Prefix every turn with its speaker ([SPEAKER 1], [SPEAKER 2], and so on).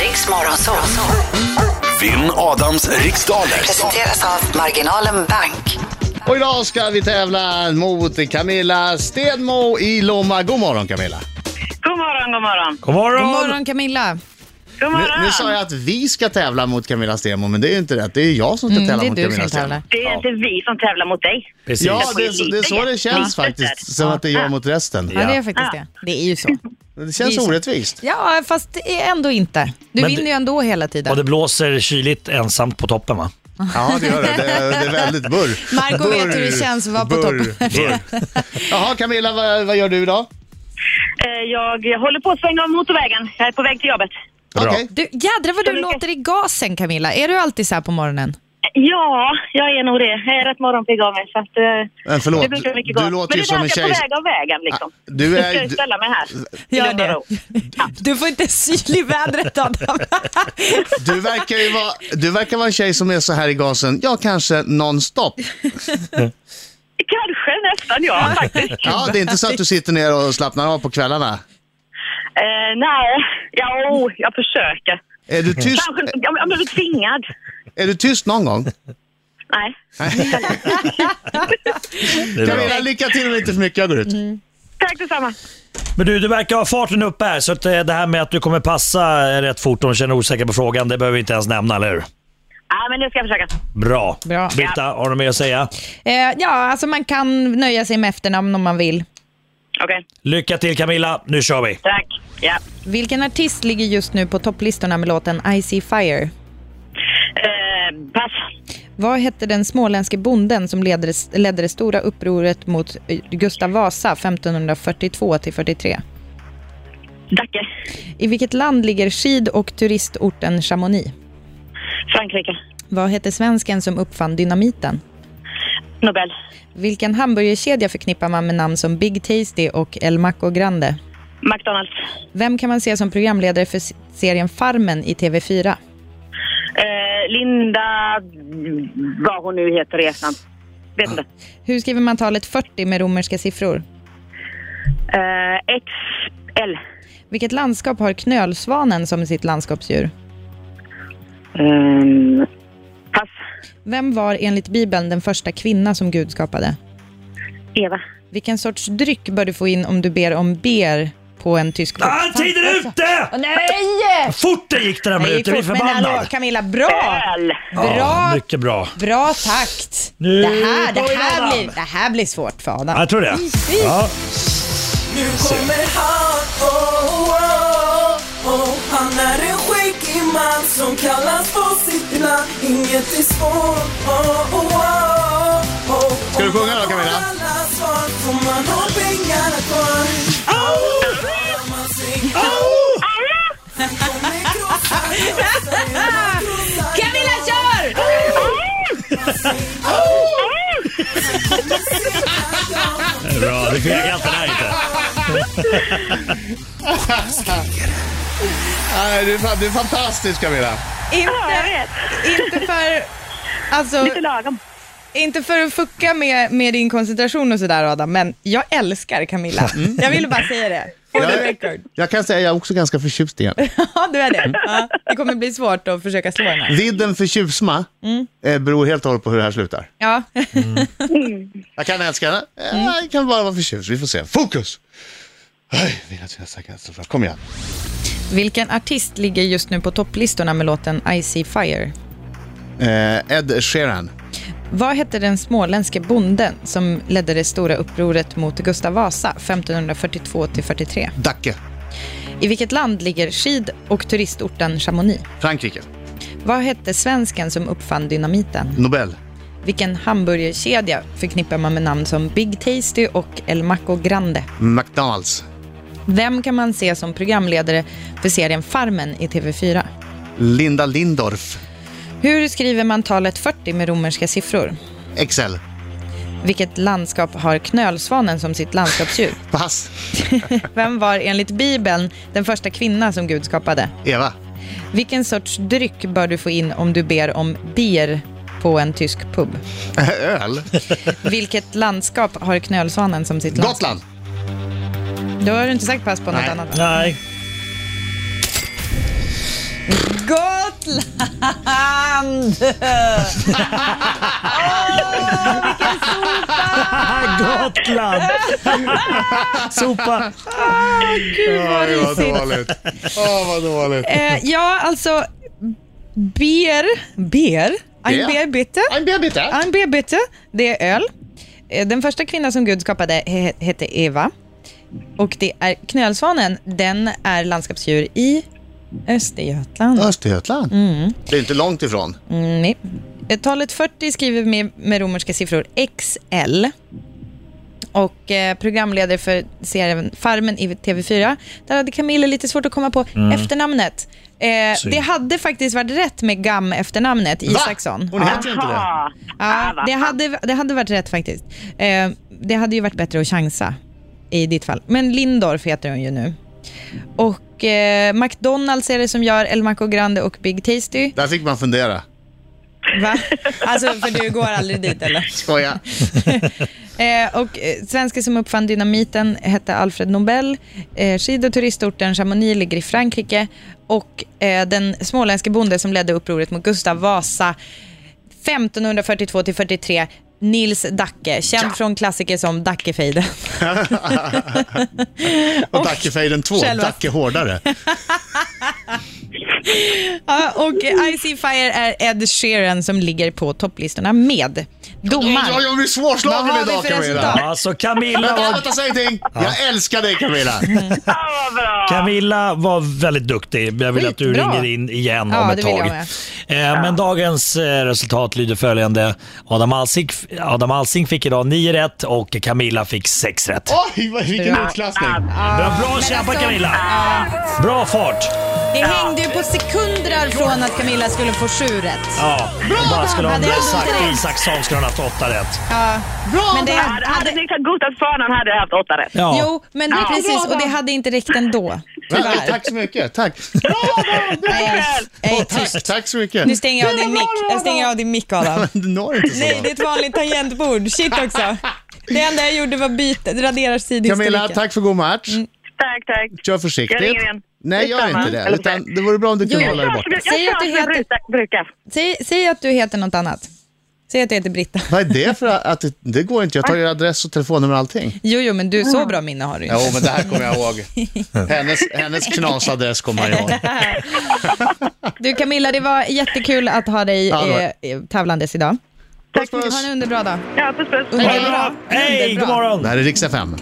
[SPEAKER 1] Riksmorgon så.
[SPEAKER 2] Vinn Adams riksdaler.
[SPEAKER 1] Presenteras av Marginalen Bank.
[SPEAKER 3] Och idag ska vi tävla mot Camilla Stenmo i Lomma. God morgon Camilla!
[SPEAKER 4] God morgon, god morgon.
[SPEAKER 5] God morgon.
[SPEAKER 6] God morgon Camilla.
[SPEAKER 3] Nu,
[SPEAKER 4] God morgon.
[SPEAKER 3] nu sa jag att vi ska tävla mot Camilla Stenmo, men det är ju inte rätt. Det är jag som ska
[SPEAKER 6] Mm,
[SPEAKER 3] tävla
[SPEAKER 6] det är
[SPEAKER 3] mot
[SPEAKER 6] du
[SPEAKER 3] Camilla
[SPEAKER 6] som
[SPEAKER 3] Stenmo.
[SPEAKER 6] tävlar.
[SPEAKER 4] Det är inte vi som tävlar mot dig.
[SPEAKER 5] Precis.
[SPEAKER 3] Ja,
[SPEAKER 4] Det
[SPEAKER 3] det,
[SPEAKER 4] var
[SPEAKER 3] är-
[SPEAKER 4] ju
[SPEAKER 3] det är så
[SPEAKER 4] lite-
[SPEAKER 3] det känns
[SPEAKER 4] lite
[SPEAKER 3] faktiskt.
[SPEAKER 4] där.
[SPEAKER 3] Som att det är jag mot resten.
[SPEAKER 6] Ja, det
[SPEAKER 5] Ja.
[SPEAKER 6] är faktiskt det. Det är ju så.
[SPEAKER 3] Det
[SPEAKER 6] Det
[SPEAKER 3] känns
[SPEAKER 6] är så.
[SPEAKER 3] orättvist.
[SPEAKER 6] Ja, fast det är ändå inte. Du
[SPEAKER 5] Men
[SPEAKER 6] vinner
[SPEAKER 5] det-
[SPEAKER 6] ju ändå hela
[SPEAKER 5] Och det
[SPEAKER 6] tiden.
[SPEAKER 5] blåser kyligt ensamt på toppen va?
[SPEAKER 3] Ja, det gör det. Det, det är väldigt burr.
[SPEAKER 6] Marco vet hur det känns att vara på
[SPEAKER 3] burr, burr. Jaha, Camilla, vad, vad gör du idag?
[SPEAKER 4] Eh, Jag håller på att svänga av motorvägen. Jag är på väg till jobbet.
[SPEAKER 5] Bra.
[SPEAKER 3] Okej.
[SPEAKER 6] Du, jädrar vad du
[SPEAKER 4] Ulrika.
[SPEAKER 6] låter i gasen Camilla. Är du alltid så här på morgonen?
[SPEAKER 4] Eh, Ja, jag är nog det. Jag är rätt morgonpigg av mig. Så att, eh,
[SPEAKER 3] Men förlåt,
[SPEAKER 4] det brukar mycket
[SPEAKER 3] du
[SPEAKER 4] gå.
[SPEAKER 3] låter
[SPEAKER 4] Men
[SPEAKER 3] ju
[SPEAKER 4] det är
[SPEAKER 3] som en
[SPEAKER 4] därför jag är
[SPEAKER 3] tjej-
[SPEAKER 4] på väg av vägen liksom.
[SPEAKER 3] Ah, du är-
[SPEAKER 4] Jag ska ju
[SPEAKER 3] du-
[SPEAKER 4] ställa mig här. i lugn och ro.
[SPEAKER 6] Du får inte syl i vädret Adam.
[SPEAKER 3] Du verkar ju vara, du verkar vara en tjej som är så här i gasen, ja kanske nonstop.
[SPEAKER 4] Kanske nästan ja faktiskt.
[SPEAKER 3] Ja, det är inte så att du sitter ner och slappnar av på kvällarna.
[SPEAKER 4] Eh, nej, ja, oh, jag försöker.
[SPEAKER 3] Är du tyst,
[SPEAKER 4] Kanske, jag, jag blir tvingad.
[SPEAKER 3] är du tyst någon gång?
[SPEAKER 4] Nej.
[SPEAKER 5] Det är bra.
[SPEAKER 3] Camilla, lycka till men inte för mycket, jag går ut.
[SPEAKER 6] Mm.
[SPEAKER 4] Tack detsamma.
[SPEAKER 5] Men du, du verkar ha farten uppe här så att eh, det här med att du kommer passa eh, rätt fort om du känner dig osäker på frågan, det behöver vi inte ens nämna, eller hur?
[SPEAKER 4] Ja, men nu ska jag försöka.
[SPEAKER 5] Bra.
[SPEAKER 6] Bra.
[SPEAKER 5] Britta, har du något mer att säga?
[SPEAKER 6] Eh, ja, alltså man kan nöja sig med efternamn om man vill.
[SPEAKER 4] Okej,
[SPEAKER 5] Lycka till Camilla, nu kör vi.
[SPEAKER 4] tack. Ja.
[SPEAKER 6] Vilken artist ligger just nu på topplistorna med låten I see fire?
[SPEAKER 4] Eh, pass.
[SPEAKER 6] Vad hette den småländske bonden som ledde, ledde det stora upproret mot eh, Gustav Vasa 1542 till 43?
[SPEAKER 4] Dacke.
[SPEAKER 6] I vilket land ligger skid och turistorten Chamonix?
[SPEAKER 4] Frankrike.
[SPEAKER 6] Vad hette svensken som uppfann dynamiten?
[SPEAKER 4] Nobel.
[SPEAKER 6] Vilken hamburgerkedja förknippar man med namn som Big Tasty och El Maco Grande?
[SPEAKER 4] McDonalds.
[SPEAKER 6] Vem kan man se som programledare för s- serien Farmen i TV4?
[SPEAKER 4] Eh, Linda... Vad hon nu heter i efternamn. Vet inte.
[SPEAKER 6] Hur skriver man talet 40 med romerska siffror?
[SPEAKER 4] Eh, XL.
[SPEAKER 6] Vilket landskap har knölsvanen som sitt landskapsdjur?
[SPEAKER 4] Eh, pass.
[SPEAKER 6] Vem var enligt Bibeln den första kvinna som Gud skapade?
[SPEAKER 4] Eva.
[SPEAKER 6] Vilken sorts dryck bör du få in om du ber om ber på en tysk
[SPEAKER 5] Ah, tiden är ute!
[SPEAKER 6] Åh, Nej!
[SPEAKER 5] Fort det gick den här
[SPEAKER 6] Nej,
[SPEAKER 5] minuten, jag blir
[SPEAKER 6] fort, men hallå
[SPEAKER 5] förbannad.
[SPEAKER 6] Camilla, bra!
[SPEAKER 4] Öl.
[SPEAKER 5] Ja,
[SPEAKER 6] Bra,
[SPEAKER 5] mycket bra.
[SPEAKER 6] bra takt!
[SPEAKER 5] Nu
[SPEAKER 6] det, här, det,
[SPEAKER 5] börjar
[SPEAKER 6] här
[SPEAKER 5] Adam.
[SPEAKER 6] blir, det här blir svårt för Adam.
[SPEAKER 5] Ja, Jag tror det. Ja.
[SPEAKER 7] Nu kommer han, oh, oh, oh. Han är en skäggig man som kallas på sitt land Inget är svårt, oh, oh, oh, oh.
[SPEAKER 3] Ska du sjunga då, Camilla?
[SPEAKER 7] Om man har alla svar får man ha pengarna kvar Om man sänker kommer krossa, krossa, man krossar
[SPEAKER 6] Camilla, kör!
[SPEAKER 5] Bra, det fegar inte där inte.
[SPEAKER 3] Nej, du, är fan, du är fantastisk Camilla.
[SPEAKER 6] Inte, inte för... Alltså,
[SPEAKER 4] Lite lagom.
[SPEAKER 6] inte för att fucka med, med din koncentration och sådär Adam, men jag älskar Camilla.
[SPEAKER 5] Mm.
[SPEAKER 6] Jag ville bara säga det. For the record.
[SPEAKER 3] Jag kan säga, jag är också ganska förtjust i henne.
[SPEAKER 6] Ja, du är
[SPEAKER 5] Mm.
[SPEAKER 6] det. Ja, det kommer bli svårt att försöka slå den här.
[SPEAKER 3] Vidden för tjusma
[SPEAKER 6] Mm.
[SPEAKER 3] eh, beror helt och hållet på hur det här slutar.
[SPEAKER 6] Ja.
[SPEAKER 3] Jag kan älska henne,
[SPEAKER 6] Mm.
[SPEAKER 3] eh, jag kan bara vara förtjust. Vi får se. Fokus! Aj, mina tjena stackars. Kom igen.
[SPEAKER 6] Vilken artist ligger just nu på topplistorna med låten I see fire?
[SPEAKER 3] Eh, Ed Sheeran.
[SPEAKER 6] Vad hette den småländske bonden som ledde det stora upproret mot Gustav Vasa 1542 till 43?
[SPEAKER 3] Dacke.
[SPEAKER 6] I vilket land ligger skid och turistorten Chamonix?
[SPEAKER 3] Frankrike.
[SPEAKER 6] Vad hette svensken som uppfann dynamiten?
[SPEAKER 3] Nobel.
[SPEAKER 6] Vilken hamburgerkedja förknippar man med namn som Big Tasty och El Maco Grande?
[SPEAKER 3] McDonalds.
[SPEAKER 6] Vem kan man se som programledare för serien Farmen i TV4?
[SPEAKER 3] Linda Lindorff.
[SPEAKER 6] Hur skriver man talet 40 med romerska siffror?
[SPEAKER 3] Excel.
[SPEAKER 6] Vilket landskap har knölsvanen som sitt landskapsdjur?
[SPEAKER 3] Pass.
[SPEAKER 6] Vem var enligt Bibeln den första kvinna som Gud skapade?
[SPEAKER 3] Eva.
[SPEAKER 6] Vilken sorts dryck bör du få in om du ber om bier på en tysk pub?
[SPEAKER 3] Öl.
[SPEAKER 6] Vilket landskap har knölsvanen som sitt landskap?
[SPEAKER 3] Gotland.
[SPEAKER 6] Då har du inte sagt pass på något
[SPEAKER 3] Nej.
[SPEAKER 6] annat va?
[SPEAKER 5] Nej.
[SPEAKER 6] Gotland! Åh, vilken sopa!
[SPEAKER 5] Gotland! Sopa.
[SPEAKER 6] Gud
[SPEAKER 3] Ja,
[SPEAKER 6] vad
[SPEAKER 3] det var
[SPEAKER 6] risigt.
[SPEAKER 3] dåligt. Åh, vad dåligt.
[SPEAKER 6] Eh, ja, alltså bier, bier, ein
[SPEAKER 3] Bier.
[SPEAKER 6] bier bitte,
[SPEAKER 3] En bebite.
[SPEAKER 6] ein bier bitte, det är öl. Eh, Den första kvinnan som Gud skapade he- hette Eva. Och det är knölsvanen, den är landskapsdjur i Östergötland.
[SPEAKER 3] Östergötland. Det är inte långt ifrån.
[SPEAKER 6] Mm, nej. Eh, Talet 40 skriver vi med, med romerska siffror XL. Och eh, programledare för serien Farmen i TV4, där hade Camilla lite svårt att komma på efternamnet. Eh,
[SPEAKER 5] Synd.
[SPEAKER 6] det hade faktiskt varit rätt med GAM-efternamnet, Isaksson.
[SPEAKER 3] Hon heter ju inte det.
[SPEAKER 4] Jaha.
[SPEAKER 6] Ja, det, hade, det hade varit rätt faktiskt. Eh, det hade ju varit bättre att chansa i ditt fall. Men Lindorf heter hon ju nu. Och eh, McDonalds är det som gör El Maco Grande och Big Tasty.
[SPEAKER 3] Där fick man fundera.
[SPEAKER 6] Va? Alltså, för du går aldrig dit eller?
[SPEAKER 3] Skoja.
[SPEAKER 6] Eh, och eh, svensken som uppfann dynamiten hette Alfred Nobel. Eh, skid och turistorten Chamonix ligger i Frankrike. Och eh, den småländske bonde som ledde upproret mot Gustav Vasa 1542 till 43 Nils Dacke, känd från klassiker som Dackefejden.
[SPEAKER 3] Och Dackefejden 2.
[SPEAKER 6] själva-
[SPEAKER 3] Dacke hårdare.
[SPEAKER 6] Ja, och eh, I See Fire är Ed Sheeran som ligger på topplistorna med.
[SPEAKER 3] Jag,
[SPEAKER 6] Domaren.
[SPEAKER 3] jag blir
[SPEAKER 6] Vad
[SPEAKER 3] svårslagen
[SPEAKER 6] har vi
[SPEAKER 3] idag
[SPEAKER 6] för
[SPEAKER 3] Camilla.
[SPEAKER 6] resultat?
[SPEAKER 5] Alltså Camilla
[SPEAKER 3] Vänta,
[SPEAKER 5] var,
[SPEAKER 3] vänta, säg ingenting. Jag älskar dig Camilla.
[SPEAKER 4] Fan vad bra.
[SPEAKER 5] Camilla var väldigt duktig. Jag vill att du
[SPEAKER 6] Skitbra.
[SPEAKER 5] ringer in igen
[SPEAKER 6] Ja,
[SPEAKER 5] om
[SPEAKER 6] det
[SPEAKER 5] ett
[SPEAKER 6] vill jag
[SPEAKER 5] tag. Eh, men dagens eh, resultat lyder följande. Adam Alsing, Adam Alsing fick idag 9 rätt och Camilla fick 6 rätt.
[SPEAKER 3] Oj, vad- vilken utklassning.
[SPEAKER 5] Bra, bra kämpat
[SPEAKER 6] alltså,
[SPEAKER 5] Camilla! Bra fart!
[SPEAKER 6] Det hängde ju på sekunder från att Camilla skulle få sju rätt.
[SPEAKER 5] Ja, bara skulle hon
[SPEAKER 6] Hade jag
[SPEAKER 5] sagt
[SPEAKER 6] inte det?
[SPEAKER 5] Isaksson skulle hon haft åtta rätt.
[SPEAKER 6] Men det
[SPEAKER 4] Hade, hade
[SPEAKER 6] hade,
[SPEAKER 4] ni tagit Gustavs förnamn hade jag haft åtta rätt.
[SPEAKER 5] Ja.
[SPEAKER 6] Jo, men det, precis, och det hade inte räckt ändå.
[SPEAKER 3] Nej,
[SPEAKER 6] Tyvärr.
[SPEAKER 3] Tack så mycket. Tack. Bra, bra, bra.
[SPEAKER 6] Nej, jag är
[SPEAKER 3] Åh,
[SPEAKER 6] tyst.
[SPEAKER 3] Tack, tack så mycket.
[SPEAKER 6] Nu stänger jag av din mick. Jag stänger av din mick, Adam.
[SPEAKER 3] Du når inte så
[SPEAKER 6] Nej, det är
[SPEAKER 3] långt.
[SPEAKER 6] ett vanligt tangentbord. Shit också. Det enda jag gjorde var byta, radera sidhistoriken.
[SPEAKER 3] Camilla, tack för god match.
[SPEAKER 6] Mm.
[SPEAKER 4] Tack, tack.
[SPEAKER 3] Kör
[SPEAKER 4] Jag
[SPEAKER 3] försiktigt.
[SPEAKER 4] ringer igen.
[SPEAKER 3] Nej, gör
[SPEAKER 4] Detsamma.
[SPEAKER 3] inte det.
[SPEAKER 4] Eller-
[SPEAKER 3] Utan det vore bra om du kunde
[SPEAKER 6] Jo,
[SPEAKER 3] hålla dig
[SPEAKER 4] Jag
[SPEAKER 3] borta.
[SPEAKER 4] kör som
[SPEAKER 6] Säg att du
[SPEAKER 4] jag
[SPEAKER 6] heter-
[SPEAKER 4] brukar- brukar.
[SPEAKER 6] Säg, säg att du heter något annat. Säg att du heter Britta.
[SPEAKER 3] Vad är det för att det, det går inte? Jag tar ju adress och telefonnummer och allting.
[SPEAKER 6] Jo, jo, men du, så bra minne har du ju
[SPEAKER 3] Jo,
[SPEAKER 6] inte.
[SPEAKER 3] men det här kommer jag ihåg. Hennes, hennes knasadress kommer jag ihåg.
[SPEAKER 6] Du, Camilla, det var jättekul att ha dig
[SPEAKER 3] Ja, det var
[SPEAKER 6] eh, tävlandes idag.
[SPEAKER 3] Puss,
[SPEAKER 6] Ha
[SPEAKER 3] puss.
[SPEAKER 6] en underbra dag.
[SPEAKER 4] Ja, puss puss.
[SPEAKER 6] Underbra.
[SPEAKER 5] Hej, god
[SPEAKER 6] Underbra.
[SPEAKER 5] morgon!
[SPEAKER 3] Det här är Rix FM.